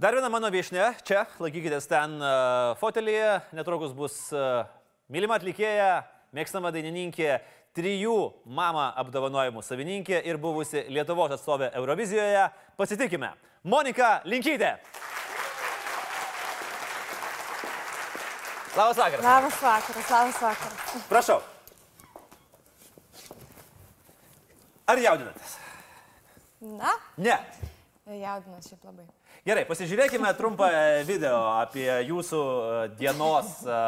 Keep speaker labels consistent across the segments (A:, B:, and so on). A: Dar viena mano viešne, čia, laikykitės ten e, fotelyje, netrukus bus e, mylima atlikėja, mėgstama dainininkė, trijų mama apdovanojimų savininkė ir buvusi Lietuvos atstovė Eurovizijoje. Pasitikime. Monika Linkytė. Labas vakaras.
B: Labas vakaras, labas vakaras.
A: Prašau. Ar jaudinatės?
B: Na,
A: Ne.
B: jaudinas šiaip labai.
A: Gerai, pasižiūrėkime trumpą e, video apie jūsų e, dienos e,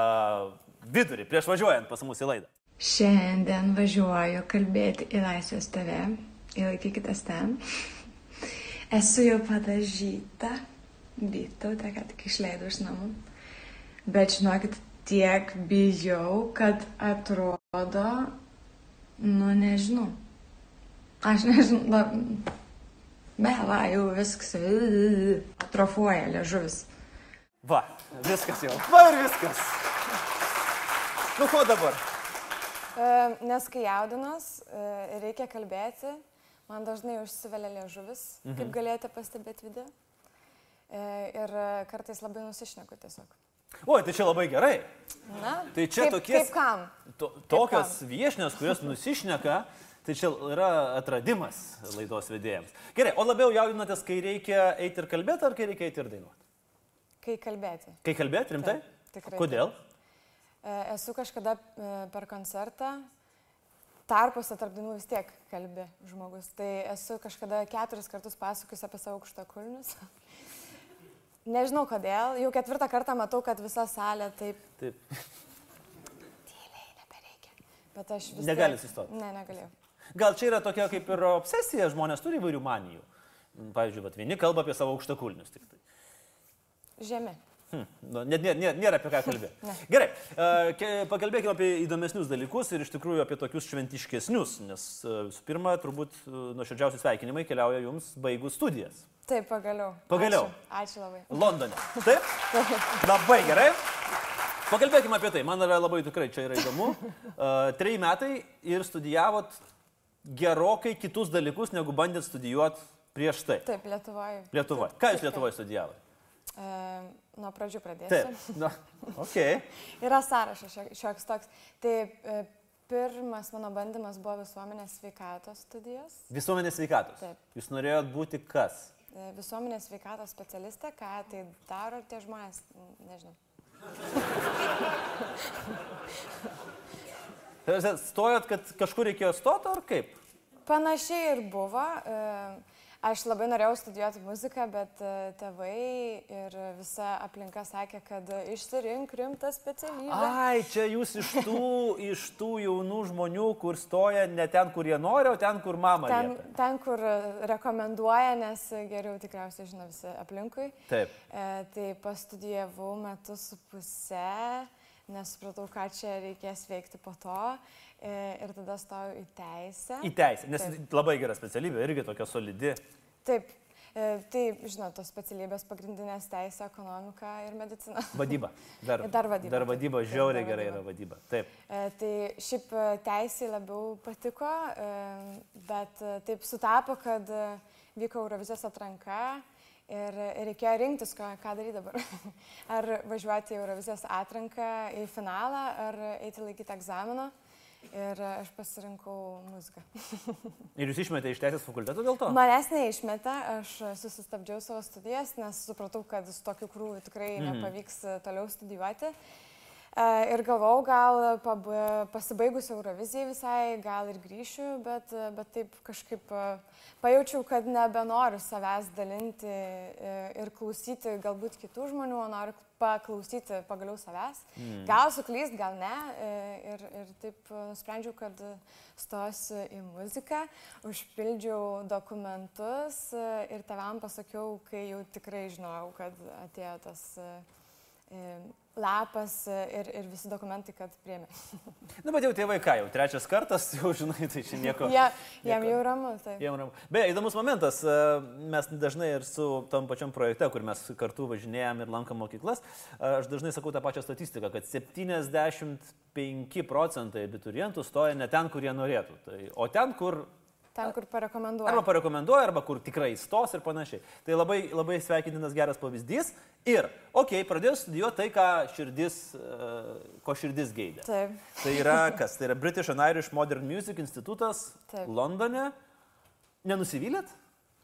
A: vidurį, prieš važiuojant pas mus į laidą.
C: Šiandien važiuoju kalbėti į Laisvės TV. Įlaikykitės ten. Esu jau padažyta. Vytautė, ką tik išleidau iš namų. Bet žinokit, tiek bijau, kad atrodo, nu nežinau. Aš nežinau. la- Be, va, jau viskas. Atrofuoja liežuvis.
A: Va, viskas jau. Va ir viskas. Nu ko dabar?
B: E, nes kai jaudinas, e, reikia kalbėti, man dažnai užsivelia liežuvis, mhm. kaip galėjote pastebėti video. E, ir e, kartais labai nusišneku tiesiog.
A: Oi, tai čia labai gerai.
B: Na,
A: Tai čia
B: kaip,
A: tokie-
B: Kaip kam?
A: To, tokios viešnės, kurios nusišneka, tai čia yra atradimas laidos vedėjams. Gerai, o labiau jaudinatės, kai reikia eiti ir kalbėti, ar kai reikia eiti ir dainuoti?
B: Kai kalbėti.
A: Kai kalbėti, rimtai?
B: Taip, tikrai
A: Kodėl?
B: E, esu kažkada e, per koncertą. Tarpuose tarp dainų vis tiek kalbė žmogus. Tai esu kažkada keturis kartus pasakojus apie savo aukštą kulnius. Nežinau kodėl, jau ketvirtą kartą matau, kad visa salė taip
A: Taip.
B: tyliai nebereikia. Bet aš vis
A: Negali
B: tiek...
A: sustot.
B: Ne, negalėjau.
A: Gal čia yra tokia kaip ir obsesija, žmonės turi įvairių manijų. M, Pavyzdžiui, vat, vieni kalba apie savo aukštakulnius tik tai.
B: Žemi.
A: Hm, nu, net nė, nė, nėra apie ką kalbėti.
B: Ne.
A: Gerai, e, ke- pakalbėkime apie įdomesnius dalykus ir iš tikrųjų apie tokius šventiškesnius, nes e, visų pirma, turbūt e, nuoširdžiausi sveikinimai keliauja jums baigus studijas
B: Taip, pagaliau.
A: Pagaliau.
B: Ačiū, Ačiū labai.
A: Londone. Taip? Labai gerai. Pakalbėkime apie tai, man yra labai tikrai čia yra įdomu. E, Treji metai ir studijavot gerokai kitus dalykus, negu bandėt studijuoti prieš tai.
B: Taip, e, Lietuvoje.
A: Lietuvoje. Ką jūs Lietuvoje studijavote?
B: E, nuo pradžių pradėsiu.
A: Taip. Na, ok.
B: Yra sąrašas šiek- šioks toks. Tai e, pirmas mano bandymas buvo visuomenės sveikatos studijos.
A: Visuomenės sveikatos.
B: Taip.
A: Jūs norėjot būti kas?
B: E, Visuomenės sveikatos specialistė, ką tai daro tie žmonės, n- nežinau.
A: Ta prasme, Stojot, kad kažkur reikėjo stoti ar kaip?
B: Panašiai ir buvo. E, Aš labai norėjau studijuoti muziką, bet e, tėvai ir visa aplinka sakė, kad e, išsirink rimtą specialybę.
A: Ai, čia jūs iš tų, iš tų jaunų žmonių, kur stoja ne ten, kur jie nori, o ten, kur mama.
B: Ten,
A: liepia.
B: ten, kur e, rekomenduoja, nes e, geriau tikriausiai žino visi aplinkui.
A: Taip.
B: E, tai pastudijavau metus su puse, nesupratau, ką čia reikės veikti po to e, ir tada stojau į teisę.
A: Į teisę, nes labai gera specialybė, irgi tokia solidi.
B: Taip, e, tai žinot, tos specialybės pagrindinės teisė, ekonomika ir medicina.
A: Vadyba. Dar,
B: Ir dar vadyba,
A: Dar
B: taip,
A: vadyba,
B: taip,
A: žiauriai
B: dar
A: gerai
B: vadyba.
A: yra vadyba. Taip.
B: E, tai šiaip e, teisė labiau patiko, e, bet e, taip sutapo, kad e, vyko Eurovizijos atranka. Ir e, reikėjo rinktis, ką, ką daryti dabar. Ar važiuoti į Eurovizijos atranką, į finalą, ar eiti laikyti egzamino. Ir e, aš pasirinkau muziką.
A: Ir jūs išmetėte iš teisės fakulteto dėl to?
B: Manęs neišmetė, aš susistabdžiau savo studijas, nes supratau, kad su tokiu krūviu tikrai mm. nepavyks e, toliau studijuoti. E, Ir galvau, gal pab... pasibaigus Eurovizijai visai, gal ir grįšiu, bet, e, bet taip kažkaip e, pajaučiau, kad nebenoriu savęs dalinti e, ir klausyti galbūt kitų žmonių, o noriu paklausyti pagaliau savęs. Mm. Gal suklyst, gal ne. e, Ir, ir taip e, nusprendžiau, kad stosiu į muziką, užpildžiau dokumentus e, ir tevam pasakiau, kai jau tikrai žinojau, kad atėjo tas e, e, lapas e, ir, ir visi dokumentai, kad priemi.
A: Nu, bet jau tėvai ką, jau trečias kartas, jau žinai, tai čia nieko.
B: Ja, jam jau ramu, tai taip.
A: Jiem ramu. Beje, įdomus momentas, e, mes dažnai ir su tom pačiam projekte, kur mes kartu važinėjom ir lankam mokyklas, e, aš dažnai sakau tą pačią statistiką, kad 75 procentai abiturientų stoja ne ten, kur jie norėtų, tai, o ten, kur
B: Ten, kur parekomenduoju.
A: arba parekomenduoja, arba kur tikrai stos ir panašiai. Tai labai, labai sveikintinas geras pavyzdys. Ir, okei, okay, pradėjau studijuoti tai, ką širdis, e, ko širdis geidė.
B: Taip.
A: Tai yra kas? Tai yra British and Irish Modern Music Institutas
B: Taip.
A: Londone. Nenusivylėt?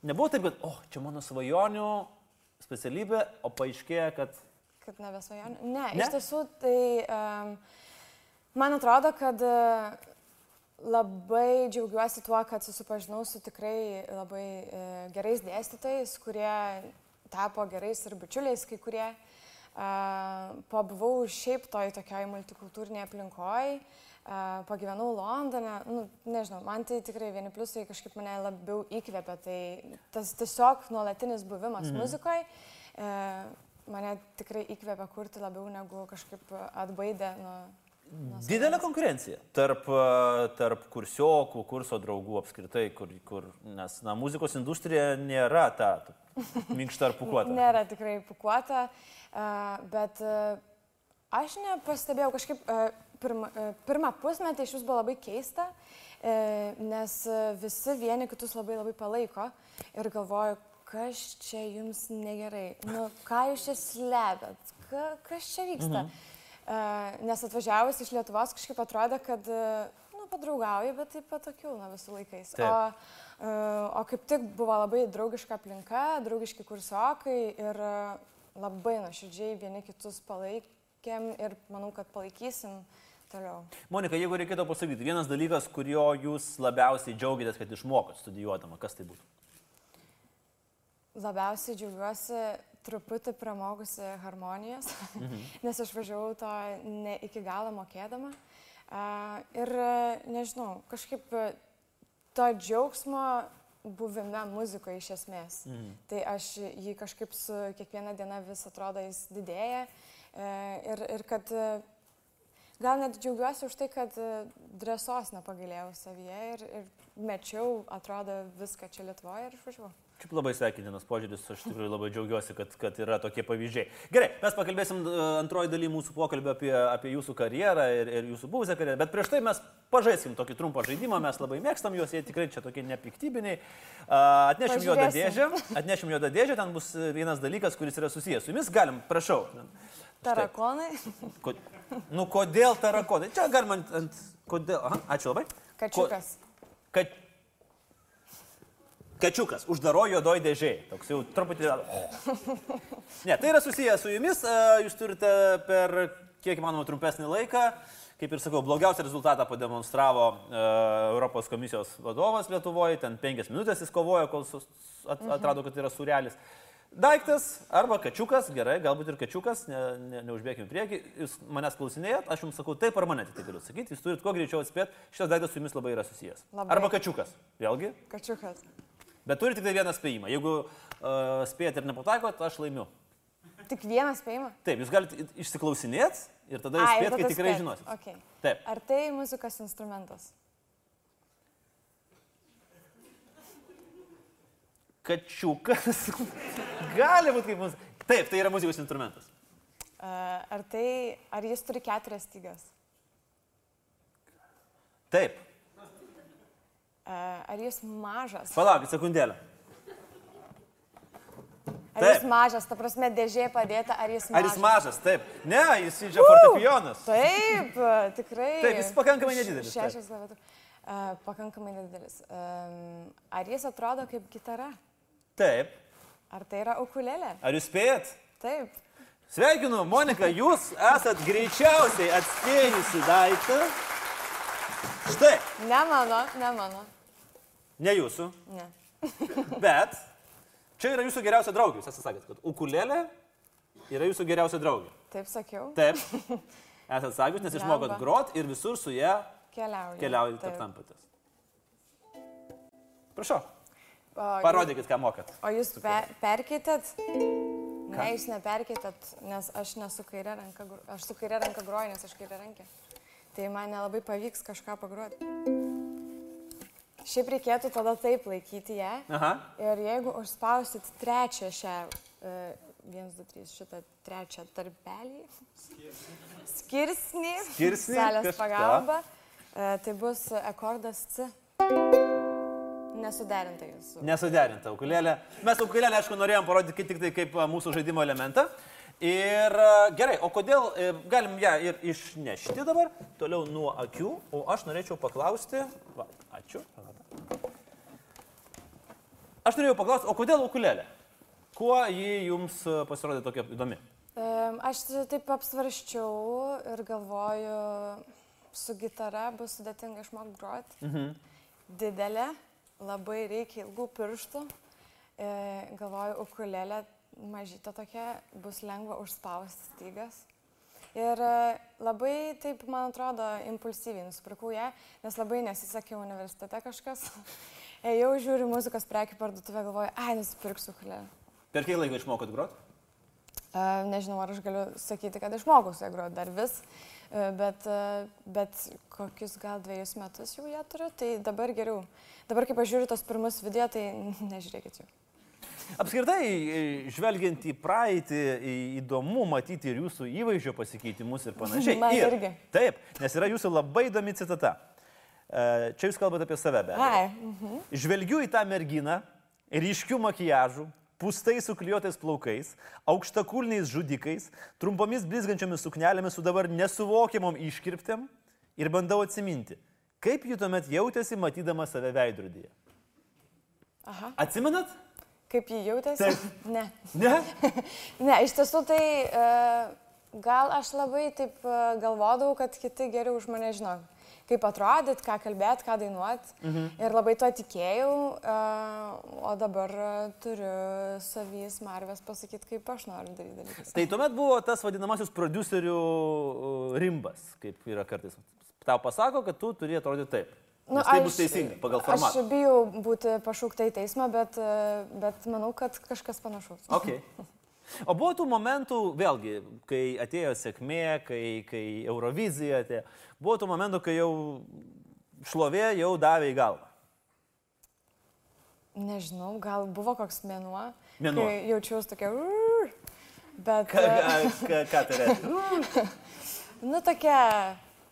A: Nebuvo taip, kad, o, oh, čia mano svajonių specialybė, o paaiškėjo, kad...
B: Kad nebesvajonių. Ne, ne,
A: Ne?
B: iš tiesų tai um, man atrodo, kad e, labai džiaugiuosi tuo, kad susipažinau su tikrai labai e, gerais dėstytojais, kurie tapo gerais ir bičiuliais, kai kurie a, pabuvau šiaip toj tokioj multikultūrinėje aplinkoje. Pagyvenau Londone, nu, nežinau, man tai tikrai vieni pliusai kažkaip mane labiau įkvėpia, tai tas tiesiog nuolatinis buvimas mm. muzikoje mane tikrai įkvėpia kurti labiau negu kažkaip atbaidė nuo... nuo
A: Didelė
B: savęs.
A: konkurencija tarp, e, tarp kursiokų, kurso draugų apskritai, kur, kur, nes, na, muzikos industrija nėra ta ta minkšta ar pukuota.
B: Nėra tikrai pukuota, e, bet e, aš nepastebėjau kažkaip e, pirmą, e, pirmą pusmetį iš jūsų buvo labai keista, e, nes e, visi vieni kitus labai labai palaiko ir galvoju, kas čia jums negerai, nu, ką jūs čia slepiat, ka, kas čia vyksta. E, Nes atvažiavus iš Lietuvos kažkaip atrodo, kad e, nu, padraugauji, bet taip pat tokių, na, visų laikais. O,
A: Taip.
B: e, o kaip tik buvo labai draugiška aplinka, draugiški kursiokai ir e, labai nuoširdžiai vieni kitus palaikėm ir manau, kad palaikysim toliau.
A: Monika, jeigu reikėtų pasakyti, vienas dalykas, kurio jūs labiausiai džiaugiatės, kad išmokot studijuodama, kas tai būtų?
B: Labiausiai džiaugiuosi truputį pramogusi harmonijos, mhm. nes aš važiavau to ne iki galo mokėdama. A, Ir e, nežinau, kažkaip e, to džiaugsmo buvime muzikoje iš esmės. Mhm. Tai aš jį kažkaip su kiekviena diena vis atrodo jis didėja. E, Ir, ir kad e, gal net džiaugiuosi už tai, kad e, drąsos nepagailėjau savyje ir, ir mečiau, atrodo, viską čia Lietuvoje ir išvažiavau.
A: Šiaip labai sveikintinas požiūris, aš tikrai labai džiaugiuosi, kad, kad yra tokie pavyzdžiai. Gerai, mes pakalbėsim e, antroji daly mūsų pokalbio apie, apie jūsų karjerą ir, ir jūsų buvusią karjerą, bet prieš tai mes pažaiskim tokį trumpą žaidimą, mes labai mėgstam juos, jie tikrai čia tokie nepiktybiniai. A, Atnešim juodą dėžę,
B: Pažiūrėsim.
A: atnešim juodą dėžę, ten bus e, vienas dalykas, kuris yra susijęs su jumis, galim, prašau.
B: tai.
A: Štai.
B: Tarakonai.
A: Ko, nu kodėl tarakonai? Čia galima ant... ant kodėl, aha, ačiū labai.
B: Kačiukas.
A: Ko, kad, kačiukas, uždaro juodoji dėžė. Toks jau truputį... Ne, tai yra susijęs su jumis, e, jūs turite per kiek įmanoma trumpesnį laiką, kaip ir sakau, blogiausią rezultatą pademonstravo e, Europos komisijos vadovas Lietuvoje, ten penkias minutės jis kovojo, kol sus, at, atrado, kad tai yra surealis. Daiktas arba kačiukas, gerai, galbūt ir kačiukas, ne, ne, neužbėgim į priekį, jūs manęs klausinėjat, aš jums sakau taip ar mane tik tai galiu sakyti, jūs turit kuo greičiau atspėti, šitas daiktas su jumis labai yra susijęs.
B: Labai.
A: Arba kačiukas, vėlgi,
B: Kačiukas.
A: bet turite tik tai vieną spėjimą, jeigu uh, spėjat ir nepataikot, aš laimiu.
B: Tik vieną spėjimą?
A: Taip, jūs galite išsiklausinėti ir tada jūs spėt, kai tikrai žinosit.
B: Okay.
A: Taip.
B: Ar tai muzikos instrumentas?
A: Kačiukas. Gali būti kaip muzika. Taip, tai yra muzikos instrumentas.
B: A, Ar, tai, ar jis turi keturias stygas?
A: Taip.
B: A, Ar jis mažas?
A: Palaukit sekundėlę.
B: Ar jis
A: taip.
B: mažas, ta prasme, dėžėje padėta, ar jis mažas?
A: Ar jis mažas? Taip. Ne, jis yra fortepijonas.
B: Taip, a, tikrai.
A: Taip, jis pakankamai nedidelis, taip.
B: Šešias klaviatūras. Pakankamai nedidelis. Am, Ar jis atrodo kaip gitara?
A: Taip.
B: Ar tai yra ukulelė?
A: Ar jūs spėjat?
B: Taip.
A: Sveikinu, Monika, jūs esat greičiausiai atspėjusi daiktą. Štai,
B: Ne mano, ne mano.
A: ne jūsų,
B: Ne.
A: bet čia yra jūsų geriausia draugė. Jūs esate sakęs, kad ukulėlė yra jūsų geriausia draugė.
B: Taip sakiau.
A: Taip. Esat sakius, nes išmokot
B: Blemba.
A: grot ir visur su ją
B: Keliauju.
A: keliaujate ir tampatės. Prašau,
B: O,
A: parodykit, ką mokat.
B: O jūs pe perkeitėt? Ne, jūs neperkėtėt, nes aš nesu kairė ranka, gro- aš su kairė ranka groju, nes aš kairė rankė. Tai man nelabai pavyks kažką pagruoti. Šiaip reikėtų tada taip laikyti ją.
A: Aha.
B: Ir jeigu užspausit trečią šią, e, 1, 2, 3, šitą trečią tarpelį, skirsnį,
A: Skirsnį,
B: salės
A: kažką.
B: pagalba, e, tai bus akordas C. Nesuderinta jūsų.
A: Nesuderinta ukulėlė. Mes ukulėlę, aišku, norėjom parodyti tik tai kaip a, mūsų žaidimo elementą. Ir a, gerai, o kodėl e, galim ją ir išnešti dabar, toliau nuo akių, o aš norėčiau paklausti, va, ačiū. Renata. Aš norėjau paklausti, o kodėl ukulėlė? Kuo ji jums a, pasirodė tokia įdomi?
B: Em, Aš taip apsvarščiau ir galvoju, su gitara bus sudėtinga išmokti groti. Mhm. Didelė, labai reikia ilgų pirštų. E, Galvoju, ukulėlė mažyta tokia, bus lengva užspausti stygas. Ir e, labai taip, man atrodo, impulsyviai nusipirkau ją, nes labai nesisekė universitete kažkas. Ėjau, žiūriu muzikos prekių parduotuvę, galvoju, ai, nusipirksiu ukulėlę.
A: Per kiek laiko išmokot groti?
B: A, Nežinau, ar aš galiu sakyti, kad išmokau su ja groti dar vis, e, bet, e, bet kokius gal dviejus metus jau ją turiu, tai dabar geriau. Dabar, kai pažiūriu tos pirmus video, tai nežiūrėkit jų.
A: Apskritai, e, žvelgiant į praeitį, į- įdomu matyti ir jūsų įvaizdžio pasikeitimus ir panašiai.
B: Man
A: ir,
B: irgi.
A: Taip, nes yra jūsų labai įdomi citata. E, Čia jūs kalbate apie save, be abejo.
B: Ai, mhm.
A: Žvelgiu į tą merginą, ryškių makiažų, pustai sukliuotais plaukais, aukštakulniais žudikais, trumpomis blizgančiomis suknelėmis su dabar nesuvokiamom iškirptėm ir bandau atsiminti, kaip jų tuomet jautėsi matydama save veidrodėje.
B: Aha.
A: Atsimenat?
B: kaip jį jautėsi?
A: Taip.
B: Ne.
A: Ne?
B: Ne, iš tiesų tai e, gal aš labai taip e, galvodavau, kad kiti geriau už mane žino, kaip atrodyt, ką kalbėt, ką dainuot. Mhm. Ir labai tuo tikėjau, e, o dabar e, turiu savys marvės pasakyti, kaip aš noriu daryti dalykus.
A: Tai tuomet buvo tas vadinamasis producerių uh, rimbas, kaip yra kartais. Tau pasako, kad tu turi atrodyti taip. Nu, tai bus teisinga pagal formatą.
B: Aš bijau būti pašaukta į teismą, bet, e, bet manau, kad kažkas panašaus.
A: Okay. O buvo tų momentų, vėlgi, kai atėjo sėkmė, kai, kai Eurovizija atėjo, buvo tų momentų, kai jau šlovė jau davė į galvą.
B: Nežinau, gal buvo koks mėnuo.
A: Mėnuo.
B: kai Jaučiausi tokia. "Ur", Bet.
A: Ką,
B: e,
A: ką, ką, ką tai reiškia?
B: Nu, tokia,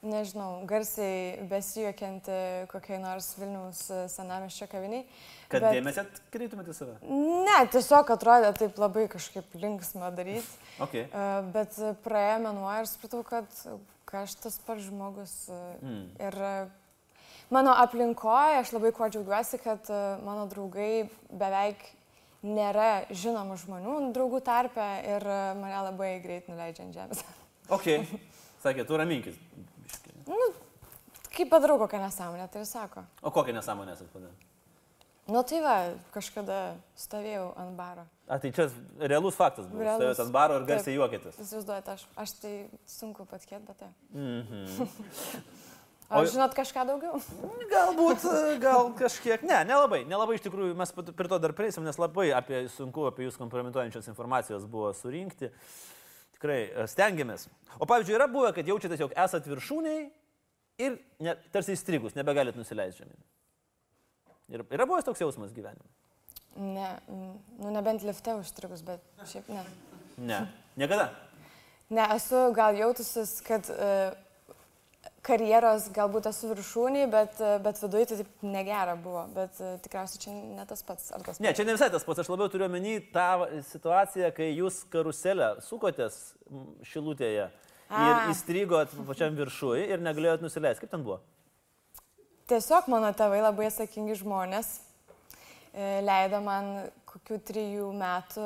B: nežinau, garsiai besijuokianti kokiai nors Vilniaus e, senamiesčio kaviniai.
A: Kad
B: bet-
A: Bet... dėmesį atkreitumėte į save.
B: Ne, tiesiog atrodė taip labai kažkaip linksma daryti.
A: Okay.
B: Bet e, praėjo mėnuo ir supratau, kad kažkas pats žmogus. Mm. Ir e, mano aplinkoje aš labai kuo džiaugiuosi, kad e, mano draugai beveik nėra žinomų žmonių draugų tarpe ir e, mane labai greit nuleidžia ant žemės.
A: ok. Sakė, tu raminkis. biškį.
B: Kaip padarau kokią nesąmonę, tai ir sako.
A: O kokią nesąmonę esate padarę?
B: Nu tai va, kažkada stovėjau ant baro.
A: A, tai čia realus faktas buvo.
B: Realus.
A: Stovėt ant baro ir garsiai
B: Taip.
A: juokėtės.
B: Įsivaizduojate, aš, aš tai sunku patikėti, bet tai.
A: Mhm.
B: O
A: O-
B: žinot kažką daugiau?
A: Galbūt, e, gal kažkiek. Ne, nelabai, nelabai iš tikrųjų mes pat- prie to dar prieisim, nes labai apie, sunku apie jūs kompromituojančios informacijos buvo surinkti. Tikrai e, stengiamės. O pavyzdžiui, yra buvę, kad jaučiatės, jog esat viršūniai ir ne, tarsi įstrigus, nebegalit nusileisti žemyn. Ir yra buvęs toks jausmas gyvenime?
B: Ne, mm, nu nebent lifte užstrigus, bet šiaip ne.
A: Ne. Niekada.
B: Ne, esu gal jautusis, kad e, karjeros galbūt esu viršūniai, bet, e, bet viduje tai taip negera buvo, bet e, tikriausiai čia ne tas pats. Ar tas
A: Ne, čia ne visai tas pats, aš labiau turiu omeny tą va- situaciją, kai jūs karuselę sukotės m, šilutėje ir
B: A.
A: įstrigot pačiam viršui ir negalėjot nusileisti. Kaip ten buvo?
B: Tiesiog mano tėvai labai atsakingi žmonės e, leido man kokių trijų metų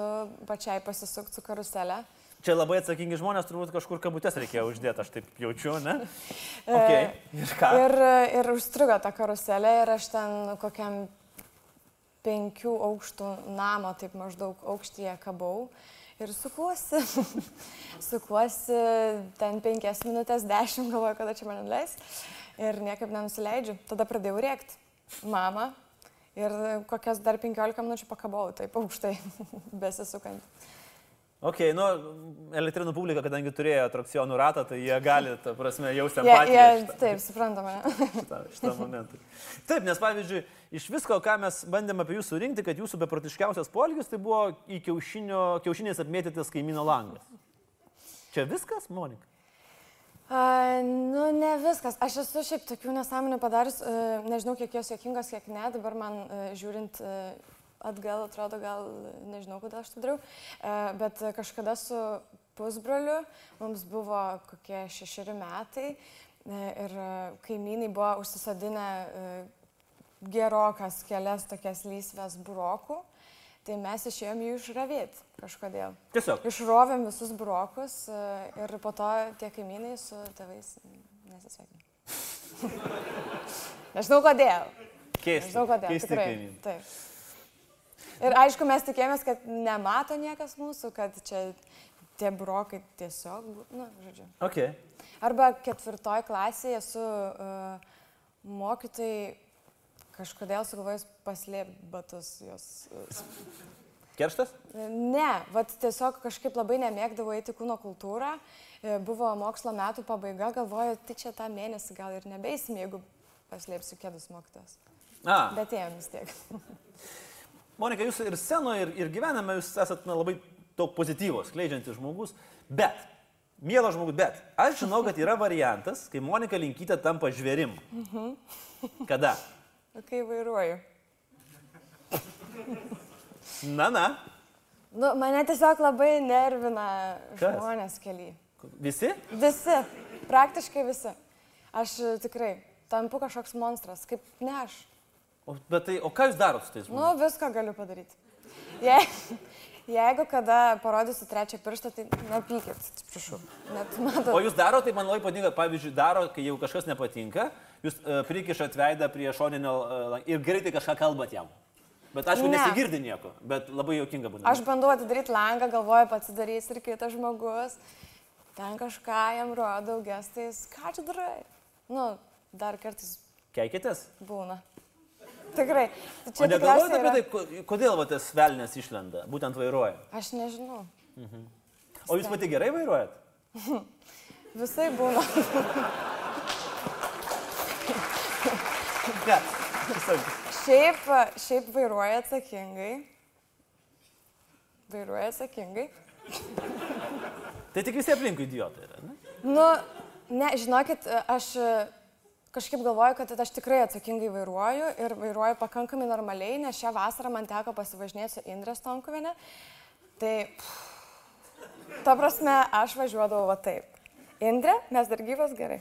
B: pačiai pasisukti su karuselė.
A: Čia labai atsakingi žmonės, turbūt kažkur kabutes reikėjo uždėti, aš taip jaučiu, ne?
B: E.
A: Okay. Ir ką?
B: Ir, ir užstrigo tą karuselę ir aš ten kokiam penkių aukštų namo, taip maždaug aukštyje kabau. Ir sukuosi, sukuosi ten penkias minutės, dešimt galvoju, kada čia man leis. Ir niekaip nenusileidžiu. Tada pradėjau rėkti. Mama. Ir kokias dar penkiolika minučių pakabau, taip aukštai, besisukant.
A: Ok, nu, elektrinų publika, kadangi turėjo atrakcionų ratą, tai jie gali, ta prasme, jausti
B: Jie,
A: empatiją.
B: jie,
A: šitą-
B: taip, suprantama. ne?
A: šitą, šitą momentą. Taip, nes pavyzdžiui, iš visko, ką mes bandėm apie jūsų rinkti, kad jūsų beprotiškiausias polgis tai buvo į kiaušinio, kiaušinės apmėtytas kaimyno langas. Čia viskas, Monika?
B: A, nu, ne viskas. Aš esu šiaip tokių nesąmonių padarius, e, nežinau, kiek jos juokingos, kiek ne, dabar man e, žiūrint e, atgal, atrodo, gal e, nežinau, kodėl aš tai dariau, E, bet e, kažkada su pusbroliu, mums buvo kokie šešeri metai e, ir e, kaimynai buvo užsisadinę e, gerokas kelias tokias lysves burokų, tai mes išėjom jų išravėti kažkodėl.
A: Tiesiog.
B: Išrovėm visus brokus ir po to tie kaimynai su tėvais nesisveikino. Nežinau kodėl.
A: Keista.
B: Nežinau kodėl.
A: Keisti
B: tikrai.
A: kaimynai.
B: Taip. Ir aišku, mes tikėjomės, kad nemato niekas mūsų, kad čia tie brokai tiesiog, bu- na, žodžiu.
A: Ok.
B: Arba ketvirtoj klasėje esu uh, mokytojai kažkodėl sugalvojus paslėpti batus jos. Uh,
A: Kerštas?
B: Ne, vat tiesiog kažkaip labai nemėgdavau eiti į kūno kultūrą. E, Buvo mokslo metų pabaiga, galvoju, tai čia tą mėnesį gal ir nebeisim, jeigu paslėpsiu kėdus mokytos.
A: A,
B: Bet ėjom vis tiek.
A: Monika, jūs ir scenoje, ir, ir gyvename, jūs esate na, labai daug pozityvos, kleidžiantis žmogus, bet, mielas žmogus, bet, aš žinau, kad yra variantas, kai Monika Linkytė tampa žvėrim. Kada?
B: O Nu, Kai vairuoju.
A: Na, na,
B: Nu, mane tiesiog labai nervina
A: Kas?
B: žmonės keliai.
A: visi?
B: Visi, praktiškai visi. Aš e, tikrai tampu kažkoks monstras, kaip ne aš.
A: O, bet tai, o ką jūs darot su tais žmonėmis?
B: Nu, viską galiu padaryti. Je, jeigu kada parodysiu trečią pirštą, tai nepykit, atsiprašau. Net matot.
A: O jūs darote, tai man labai patinka, pavyzdžiui, daro, kai jau kažkas nepatinka, jūs uh, prikišat veidą prie šoninio uh, ir greitai kažką kalbat jam. Bet aišku,
B: Ne.
A: ne. nesigirdi nieko, bet labai jokinga būna.
B: Aš bandau atidaryti langą, galvoju, pats darys ir kitas žmogus. Ten kažką jam rodau gestais, ką čia darai. Nu, dar kartais
A: Keikitės?
B: būna. Tikrai. Tai
A: O
B: Čia
A: negalvojate
B: tikriausiai
A: apie
B: yra...
A: tai, ko- kodėl va, tas velnės išlenda, būtent vairuoja.
B: Aš nežinau.
A: O jūs pati gerai vairuojat?
B: Visai būna.
A: Ne. Tiesiog.
B: Šiaip, šiaip vairuoja atsakingai. Vairuoja atsakingai.
A: Tai tik visi aplinkui idiotai yra. Ne?
B: Nu, ne, žinokit, aš e, kažkaip galvoju, kad aš tikrai atsakingai vairuoju ir vairuoju pakankamai normaliai, nes šią vasarą man teko pasivažinėti su Indrė Stonkuvinė. Tai, pff, ta prasme, aš važiuodavau va taip. Indrė, mes dar gyvas gerai.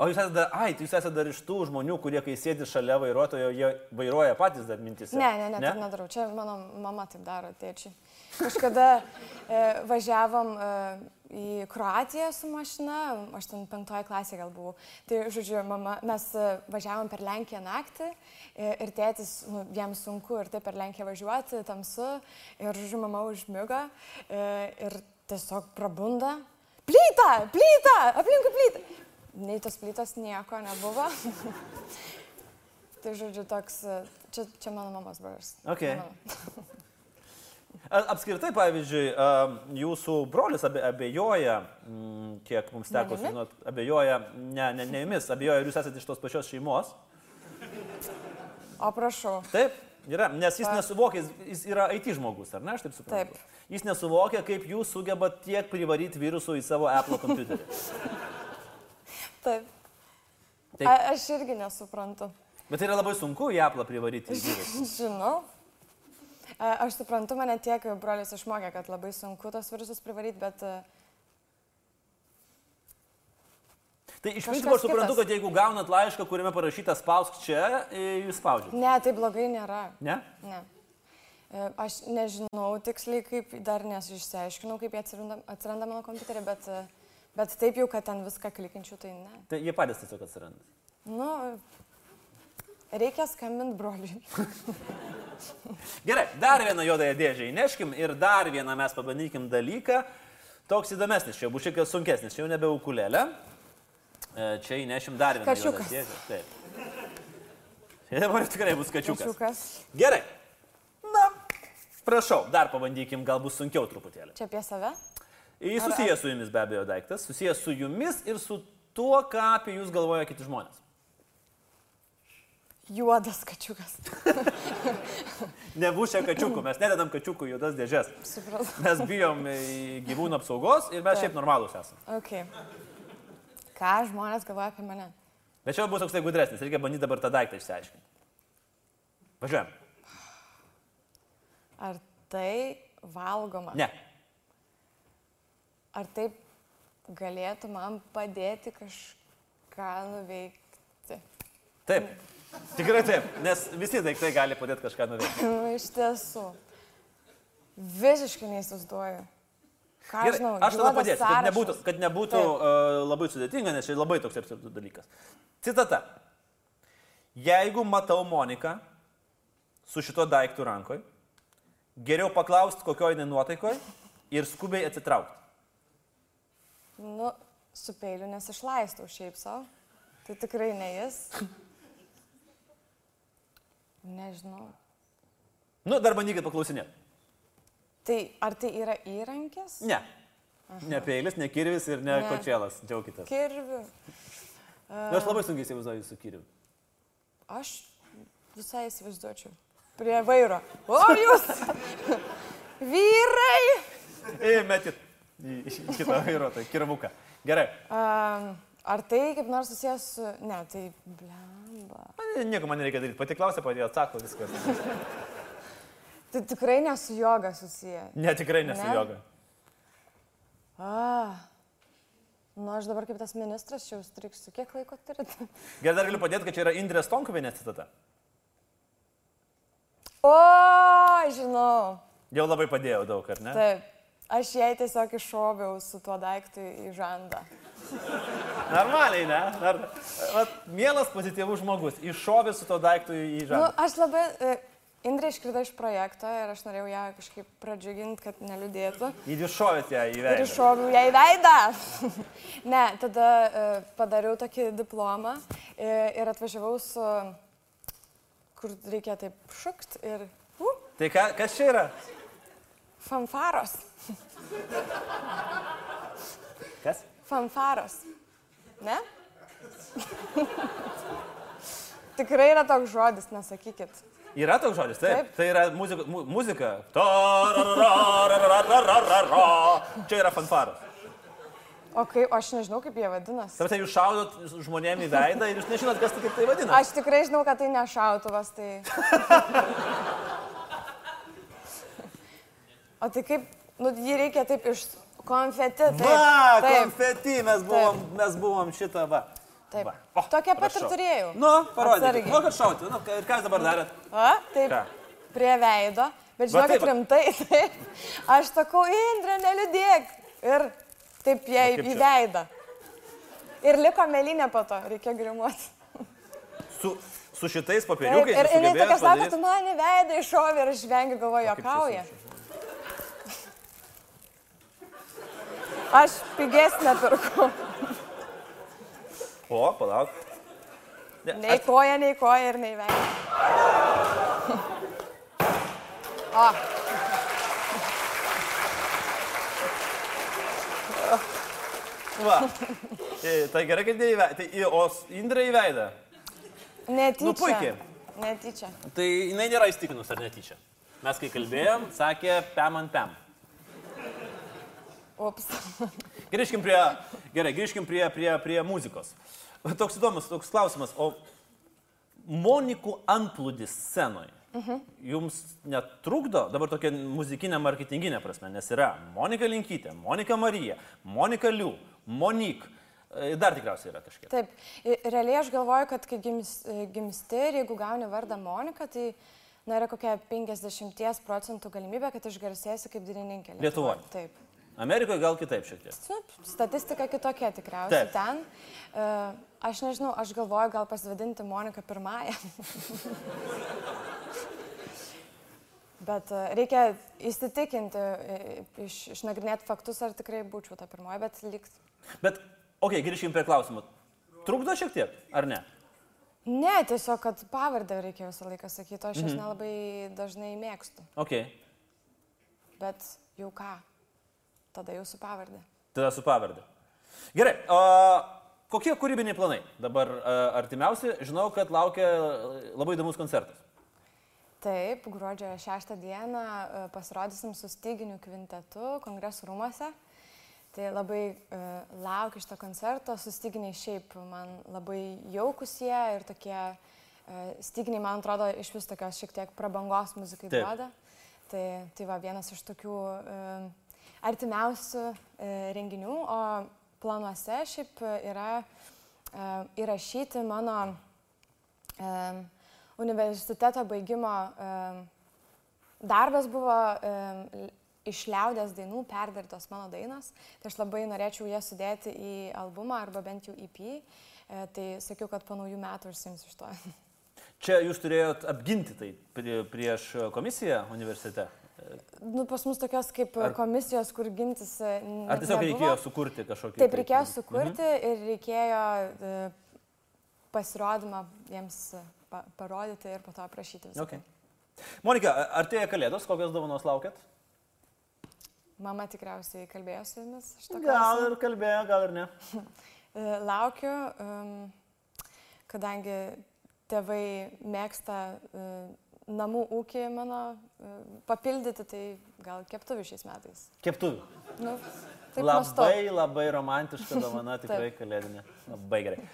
A: O jūs esate dar, ai, tai jūs esate dar iš tų žmonių, kurie, kai sėdi šalia vairuotojo, jie vairuoja patys dar mintis.
B: Ne, ne, ne, taip nedarau. Čia mano mama taip daro, tėčiai. Kažkada e, važiavom e, į Kroatiją su mašina, aš ten penktoje klasėje gal buvau. Tai, žodžiu, mama, mes e, važiavom per Lenkiją naktį e, ir tėtis, nu, jam sunku ir taip per Lenkiją važiuoti, tamsu. Ir, žodžiu, mama užmiga e, ir tiesiog prabunda. Plyta, plyta, aplinkui plyta. Nei tos plytos nieko nebuvo. Tai žodžiu, toks, e, čia, čia mano mamos brolis.
A: Okei.
B: Ne mano.
A: A- Apskritai, pavyzdžiui, am, jūsų brolis abe, abejoja, mm, kiek mums teko
B: Manimi?
A: sužinoti, abejoja, ne, ne, ne jumis, abejoja, ar jūs esate iš tos pačios šeimos.
B: O prašau.
A: Taip, yra, nes jis nesuvokia, jis- jis yra IT žmogus, ar ne, aš taip suprantu.
B: Taip.
A: Jis nesuvokia, kaip jūs sugebat tiek privaryti virusų į savo Apple kompiuterį.
B: Taip.
A: Taip.
B: A, aš irgi nesuprantu.
A: Bet tai yra labai sunku į Apple privaryti virusų.
B: Žinau. A, aš suprantu, mane tiek brolis išmokė, kad labai sunku tos virusus privaryti, bet e,
A: Tai iš
B: Kažkas
A: principo aš suprantu,
B: kitas.
A: kad jeigu gaunat laišką, kuriame parašyta spausk čia, i, jūs spaudžiate.
B: ne, tai blogai nėra.
A: Ne?
B: Ne. E, Aš nežinau tiksliai, kaip dar nesu išsiaiškinau, kaip jie atsiranda, atsiranda mano kompiuterį, bet, e, bet taip jau, kad ten viską klikinčiau, tai ne.
A: Tai jie patys tiesiog atsiranda.
B: Nu, reikia skambinti broliui.
A: Gerai, dar vieną juodąją dėžę įneškim ir dar vieną mes pabandykim dalyką. Toks įdomesnis, čia jau bus šiek tiek sunkesnis, čia jau nebe ukulelė. E, Čia įnešim dar vieną juodą
B: Kačiukas.
A: dėžę. Taip. Čia dabar tikrai bus kačiukas.
B: Kačiukas.
A: Gerai. Na, Prašau, dar pabandykim, galbūt sunkiau truputėlį.
B: Čia apie save?
A: Jis susijęs su jumis be abejo daiktas, susijęs su jumis ir su tuo, ką apie jūs galvoja kiti žmonės.
B: Juodas kačiukas.
A: Nebūšia kačiukų, mes nededam kačiukų į juodas dėžės.
B: Supratau.
A: Mes bijom e, gyvūnų apsaugos ir mes šiaip normalūs esame.
B: Ok. Ką žmonės galvoja apie mane?
A: Bet čia jau bus toks tai gudresnis, reikia bandyti dabar tą daiktą išsiaiškinti. Važiuojam.
B: Ar tai valgoma?
A: Ne.
B: Ar taip galėtų man padėti kažką nuveikti?
A: Taip. Tikrai taip, nes visi daiktai gali padėti kažką nuveikti.
B: Nu, iš tiesų. Visiškai neįsivaizduoju. Ką
A: Gerai,
B: aš žinau,
A: aš tada
B: juodas
A: padėsiu, kad nebūtų,
B: sąrašas.
A: kad nebūtų
B: Taip.
A: uh, labai sudėtinga, nes čia labai toks absurdus dalykas. Citata. Jeigu matau Moniką su šito daiktų rankoje, geriau paklausti, kokioje jinai nuotaikoje ir skubiai atsitraukti.
B: Nu, su peiliu nesišlaistau šiaip savo. Tai tikrai ne jis. Nežinau.
A: Nu, dar bandykit paklausinėti.
B: Tai ar tai yra įrankis?
A: Ne. Ne peilis, ne kirvis ir ne, ne.
B: Ne.
A: kočielas. Džiaukitės.
B: Kirvi.
A: Nu, aš labai sunkiai įsivaizduoju su kirviu.
B: Aš visai įsivaizduočiau. Prie vairo. O jūs! Vyrai!
A: Įmetit į į kitą vairuotoją, kirvuką. Gerai.
B: Um, ar tai kaip nors susijęs su... Ne, tai blemba.
A: Man- Nieko man nereikia daryti. Pati klausia, pati atsako viskas.
B: Tai tikrai nesu joga susiję.
A: Ne, tikrai nesu
B: Ne?
A: joga.
B: A. Nu, aš dabar kaip tas ministras čia užstriksiu. Kiek laiko turite?
A: Gerai, dar galiu padėti, kad čia yra Indrės Tonkuvienės citata.
B: O, žinau.
A: Jau labai padėjau daug, ar ne?
B: Taip. Aš jai tiesiog iššoviau su tuo daiktu į žandą.
A: Normaliai, ne? Ar, vat, mielas pozityvus žmogus, iššovė su to daiktu į
B: Nu,
A: žemę.
B: aš labai... e, Indrė iškrito iš projekto ir aš norėjau ją kažkaip pradžiuginti, kad neliūdėtų.
A: Nu, Įšovėt ją į
B: Ir
A: veidą.
B: iššoviau ją į veidą. ne, tada e, padariau tokį diplomą e, ir atvažiavau su, kur reikia taip šukt ir uh,
A: Tai ka, kas čia yra?
B: fanfaros.
A: Kas?
B: Fanfaros. Ne? Tikrai yra toks žodis, nesakykit.
A: Yra toks žodis, taip.
B: Taip.
A: taip. Tai yra muzika. Mu, muzika. Tarararararararara. Čia yra fanfaras.
B: O kai, o aš nežinau, kaip jie vadinasi.
A: Tarsi jūs šaudot žmonėms į veidą ir jūs nežinot, kas tai kaip tai vadina.
B: Aš tikrai žinau, kad tai nešautuvas, tai... O tai kaip, nu, jį reikia taip iš konfeti. Taip,
A: Va,
B: taip.
A: konfeti, mes buvom, mes buvom šitą va.
B: Taip.
A: Va.
B: Tokią pat ir
A: prašau.
B: turėjau.
A: Nu, parodykit.
B: Atsargiai.
A: Nu, kad šauti. Nu, ką- ir ką jūs dabar darėt?
B: O, taip,
A: Ką?
B: prie veido, bet
A: Va
B: žinokit
A: taip va.
B: rimtai, taip. Aš sakau, Indrė, neliūdėk. Ir taip jai
A: O kaip
B: į
A: čia?
B: veidą. Ir liko melinė po to, reikia grimuoti.
A: Su, su šitais
B: Taip,
A: papiriukais.
B: ir jinai
A: sugebėjot
B: tokia sako,
A: padaryt-
B: tu man į veidą iššovė ir aš vengiu galvoju,
A: Kaip čia
B: jokauja.
A: su-
B: Aš pigesnę pirku.
A: O, palauk. Ne,
B: Nei
A: aš,
B: koja, nei koja ir nei veidą. O,
A: va. E, Tai gerai, kad neįveidą. Tai, į- o s- Indrė įveidą.
B: netyčia.
A: Nu, puikiai.
B: Netyčia.
A: Tai jinai nėra įstikinus, ar netyčia. Mes kai kalbėjom, sakė pem ant pem.
B: Ups.
A: Grįžkim prie, gerai, grįžkim prie, prie, prie muzikos. Toks įdomus, toks klausimas. O Monikų antplūdis scenoje jums netrukdo dabar tokia muzikinė marketinginė prasme, nes yra Monika Linkytė, Monika Marija, Monika Liu, Monik. e, Dar tikriausiai yra kažkiek.
B: Taip, i- realiai aš galvoju, kad kai gims, gimsti ir jeigu gauni vardą Monika, tai na, yra kokia 50 procentų galimybė, kad išgarsėsi kaip dainininkė.
A: Lietuvoj.
B: Taip.
A: Amerikoje gal kitaip šiek tiek.
B: Nu, statistika kitokia tikriausiai
A: Taip.
B: ten. E, Aš nežinau, aš galvoju gal pasivadinti Moniką pirmąją. Bet e, reikia įsitikinti, e, iš, išnagrinėti faktus, ar tikrai būčiau ta pirmoji, bet lyg...
A: Bet, okei, okay, grįžkim prie klausimų. Trukdo šiek tiek, ar ne?
B: Ne, tiesiog, kad pavardę reikia visą laiką sakyti, o aš jas nelabai dažnai mėgstu.
A: Okei. Okay.
B: bet jau ką, tada jūsų pavardė.
A: Tada su pavardė. Gerai, o kokie kūrybiniai planai dabar a, artimiausi? Žinau, kad laukia e, labai įdomus koncertas.
B: Taip, gruodžio 6 dieną e, pasirodysim su styginiu kvintetu kongresų rūmose. Tai labai e, laukiu šito koncerto, su styginiai šiaip man labai jaukus jie ir tokie e, styginiai, man atrodo, iš vis tokios šiek tiek prabangos muzikai
A: Taip.
B: duoda. Tai, tai va vienas iš tokių e, artimiausių e, renginių, o planuose šiaip e, yra e, įrašyti mano Em, universiteto baigimo em, darbas buvo em, l- iš liaudės dainų perdirbtos mano dainos, tai aš labai norėčiau jas sudėti į albumą arba bent jau EP, E, tai sakiau, kad po naujų metų užsims iš to.
A: Čia jūs turėjot apginti tai prie- prieš komisiją universitete.
B: Nu, pas mus tokios kaip
A: Ar-
B: komisijos, kur gintis. e, n-
A: Ar tiesiog
B: nebuvo.
A: reikėjo sukurti kažkokį...
B: Taip,
A: tai-
B: reikėjo sukurti ir reikėjo e, pasirodymą jiems e, pa parodyti ir po to aprašyti visą.
A: Okay. Monika, a- artėja Kalėdos, kokios dovanos laukiat?
B: Mama tikriausiai kalbėjo su jumis. šituo
A: Gal
B: klausimu.
A: ir kalbėjo, gal ir ne.
B: E, Laukiu, em, kadangi tėvai mėgsta e, namų ūkį mano e, papildyti, tai gal keptuvių šiais metais.
A: Keptuvių.
B: Nu, taip mąstau.
A: Labai, labai romantiška dovana, tikrai kalėdinė. Labai gerai.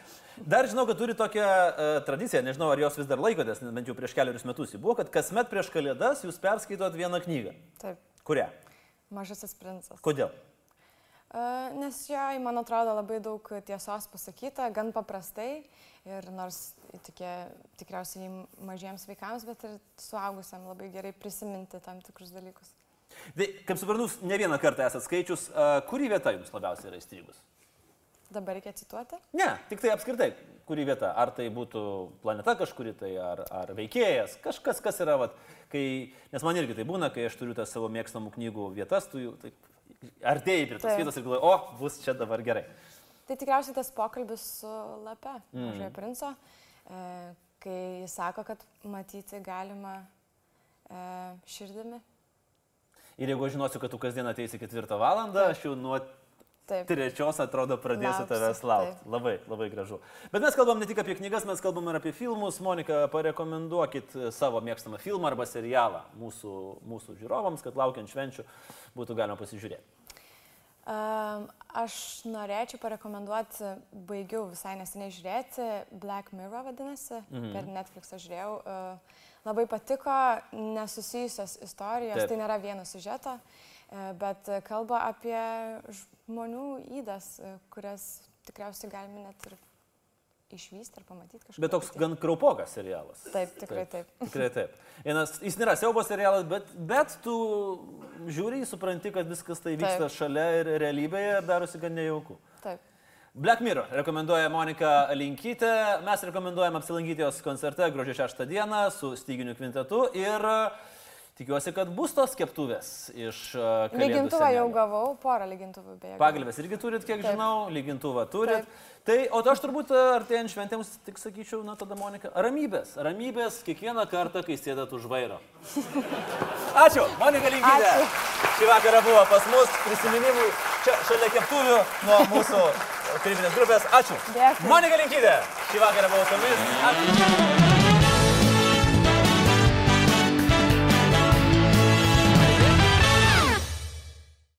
A: Dar žinau, kad turi tokią uh, tradiciją, nežinau, ar jos vis dar laikotės, nes bent jau prieš keliarius metus ji buvo, kad kasmet prieš kalėdas jūs perskaitot vieną knygą.
B: Taip,
A: Kurią?
B: mažasis princas.
A: Kodėl?
B: E, Nes jai, man atrodo, labai daug tiesos pasakyta, gan paprastai ir nors tokie tikriausiai mažiems vaikams, bet ir suaugusiam labai gerai prisiminti tam tikrus dalykus.
A: Tai, kaip suprantu, jūs ne vieną kartą esate skaičius, uh, kuri vieta jums labiausiai yra įstrigus?
B: Dabar reikia cituoti.
A: Ne, tik tai apskritai, kuri vieta. Ar tai būtų planeta kažkuri tai, ar, ar veikėjas, kažkas, kas yra, vat, kai, nes man irgi tai būna, kai aš turiu tas savo mėgstamų knygų vietas, tu jų taip artėjai prie tos
B: Taip.
A: vietos ir galvoji, o, bus čia dabar gerai.
B: Tai tikriausiai tas pokalbis su lape, mažojo princo, e, kai jis sako, kad matyti galima e, širdimi.
A: Ir jeigu aš žinosiu, kad tu kasdien ateisi ketvirtą valandą, aš jau nuo
B: Taip.
A: trečios, atrodo, pradėsiu
B: Lauksiu,
A: tavęs laukti.
B: taip.
A: Labai, labai gražu. Bet mes kalbam ne tik apie knygas, mes kalbam ir apie filmus. Monika, parekomenduokit e, savo mėgstamą filmą arba serialą mūsų, mūsų žiūrovams, kad laukiant švenčių būtų galima pasižiūrėti.
B: E, Aš norėčiau parekomenduoti, baigiau visai neseniai žiūrėti, Black Mirror vadinasi,
A: Mhm.
B: mm. per Netflixą žiūrėjau. E, Labai patiko nesusijusios istorijos,
A: Taip.
B: Taip. tai nėra vieno sužeto, bet e, kalba apie žmonių įdas, e, kurias tikriausiai galime net ir išvysti ar pamatyti kažkur.
A: Bet toks
B: ateityje.
A: gan kraupokas serialas.
B: Taip, tikrai taip.
A: Tikrai taip. Vienas, jis nėra siaubo serialas, bet, bet tu žiūri, supranti, kad viskas tai vyksta
B: Taip.
A: šalia ir realybėje ir darosi gan nejauku.
B: Taip.
A: Black Mirror rekomenduoja Monika Linkytė, mes rekomenduojam apsilankyti jos koncerte gruodžio 6 dieną su styginiu kvintetu ir e, tikiuosi, kad bus tos keptuvės iš... a, kalėdų
B: Lygintuvą jau
A: senelio.
B: gavau, porą lygintuvų beje. gavau.
A: Pagalbės irgi turit, kiek
B: Taip.
A: žinau, lygintuvą turit. Tai, o aš turbūt e, artėjant šventėms, tik sakyčiau, na tada Monika, ramybės, ramybės kiekvieną kartą, kai sėdat už vairo. Ačiū, Monika Linkytė.
B: Ačiū.
A: Šį vakarą buvo pas mus prisiminimų čia šalia keptuvių nuo mūsų kūrybinės grupės. Ačiū.
B: Dėkui.
A: Monika Linkytė. Šį vakarą buvo su mumis. Ačiū.